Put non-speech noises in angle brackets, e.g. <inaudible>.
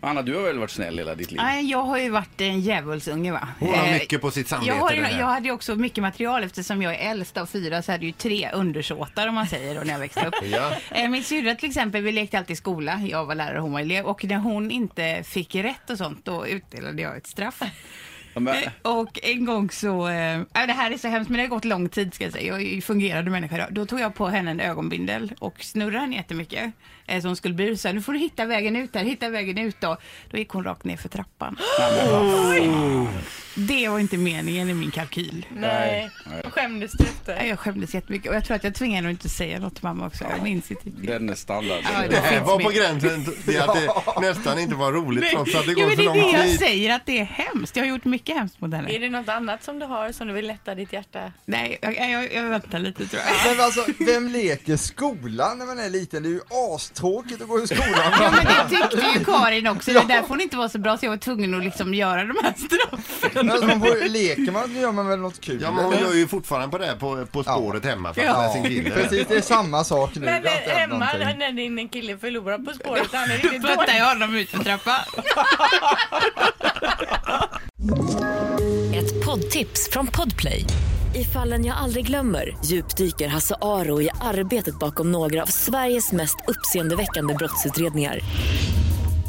Anna, du har väl varit snäll hela ditt liv? Nej, jag har ju varit en djävulsunge va. Hon har Eh, mycket på sitt samvete. Jag, har, den här. ju- jag hade ju också mycket material eftersom jag är äldst av fyra så hade jag ju tre undersåtar om man säger då när jag växte upp. <laughs> Ja. Eh, Min syrra till exempel, vi lekte alltid i skola, jag var lärare och hon var elev och när hon inte fick rätt och sånt då utdelade jag ett straff. Ja, men- Eh, Och en gång så, eh, äh, det här är så hemskt men det har gått lång tid ska jag säga, jag är ju fungerande människa då. Då tog jag på henne en ögonbindel och snurrade henne jättemycket. Eh, Så hon skulle bli så här, nu får du hitta vägen ut här, hitta vägen ut då. Då gick hon rakt ner för trappan. Det var inte meningen i min kalkyl. Nej. Vad Skämdes du Nej, efter? Jag skämdes jättemycket och jag tror att jag tvingade henne att inte säga något till mamma också. Jag minns inte. riktigt. Den är standard. Ja, Den det är- Det här finns Äh, var på mycket. gränsen till att <laughs> det nästan inte var roligt trots att det Jo, går men så det är det lång jag tid. säger, att det är hemskt. Jag har gjort mycket hemskt mot henne. Är det något annat som du har som du vill lätta ditt hjärta? Nej, jag, jag, jag väntar lite tror jag. Men alltså, vem leker skolan när man är liten? Det är ju astråkigt att gå i skolan. Ja, men det tyckte ju Karin också. Det där får ni inte vara så bra så jag var tvungen att liksom göra de här straffen. Men alltså, man får, leker man så gör man väl något kul? Ja men hon eller? gör ju fortfarande på det här på, på spåret hemma fast med sin kille. precis. Det är samma sak nu. Men det har inte eh, hänt Emma, någonting. när din kille förlorar På spåret, han är Då riktigt dålig. puttar jag honom ut för trappan. Ett poddtips från Podplay. I fallen jag aldrig glömmer djupdyker Hasse Aro i arbetet bakom några av Sveriges mest uppseendeväckande brottsutredningar.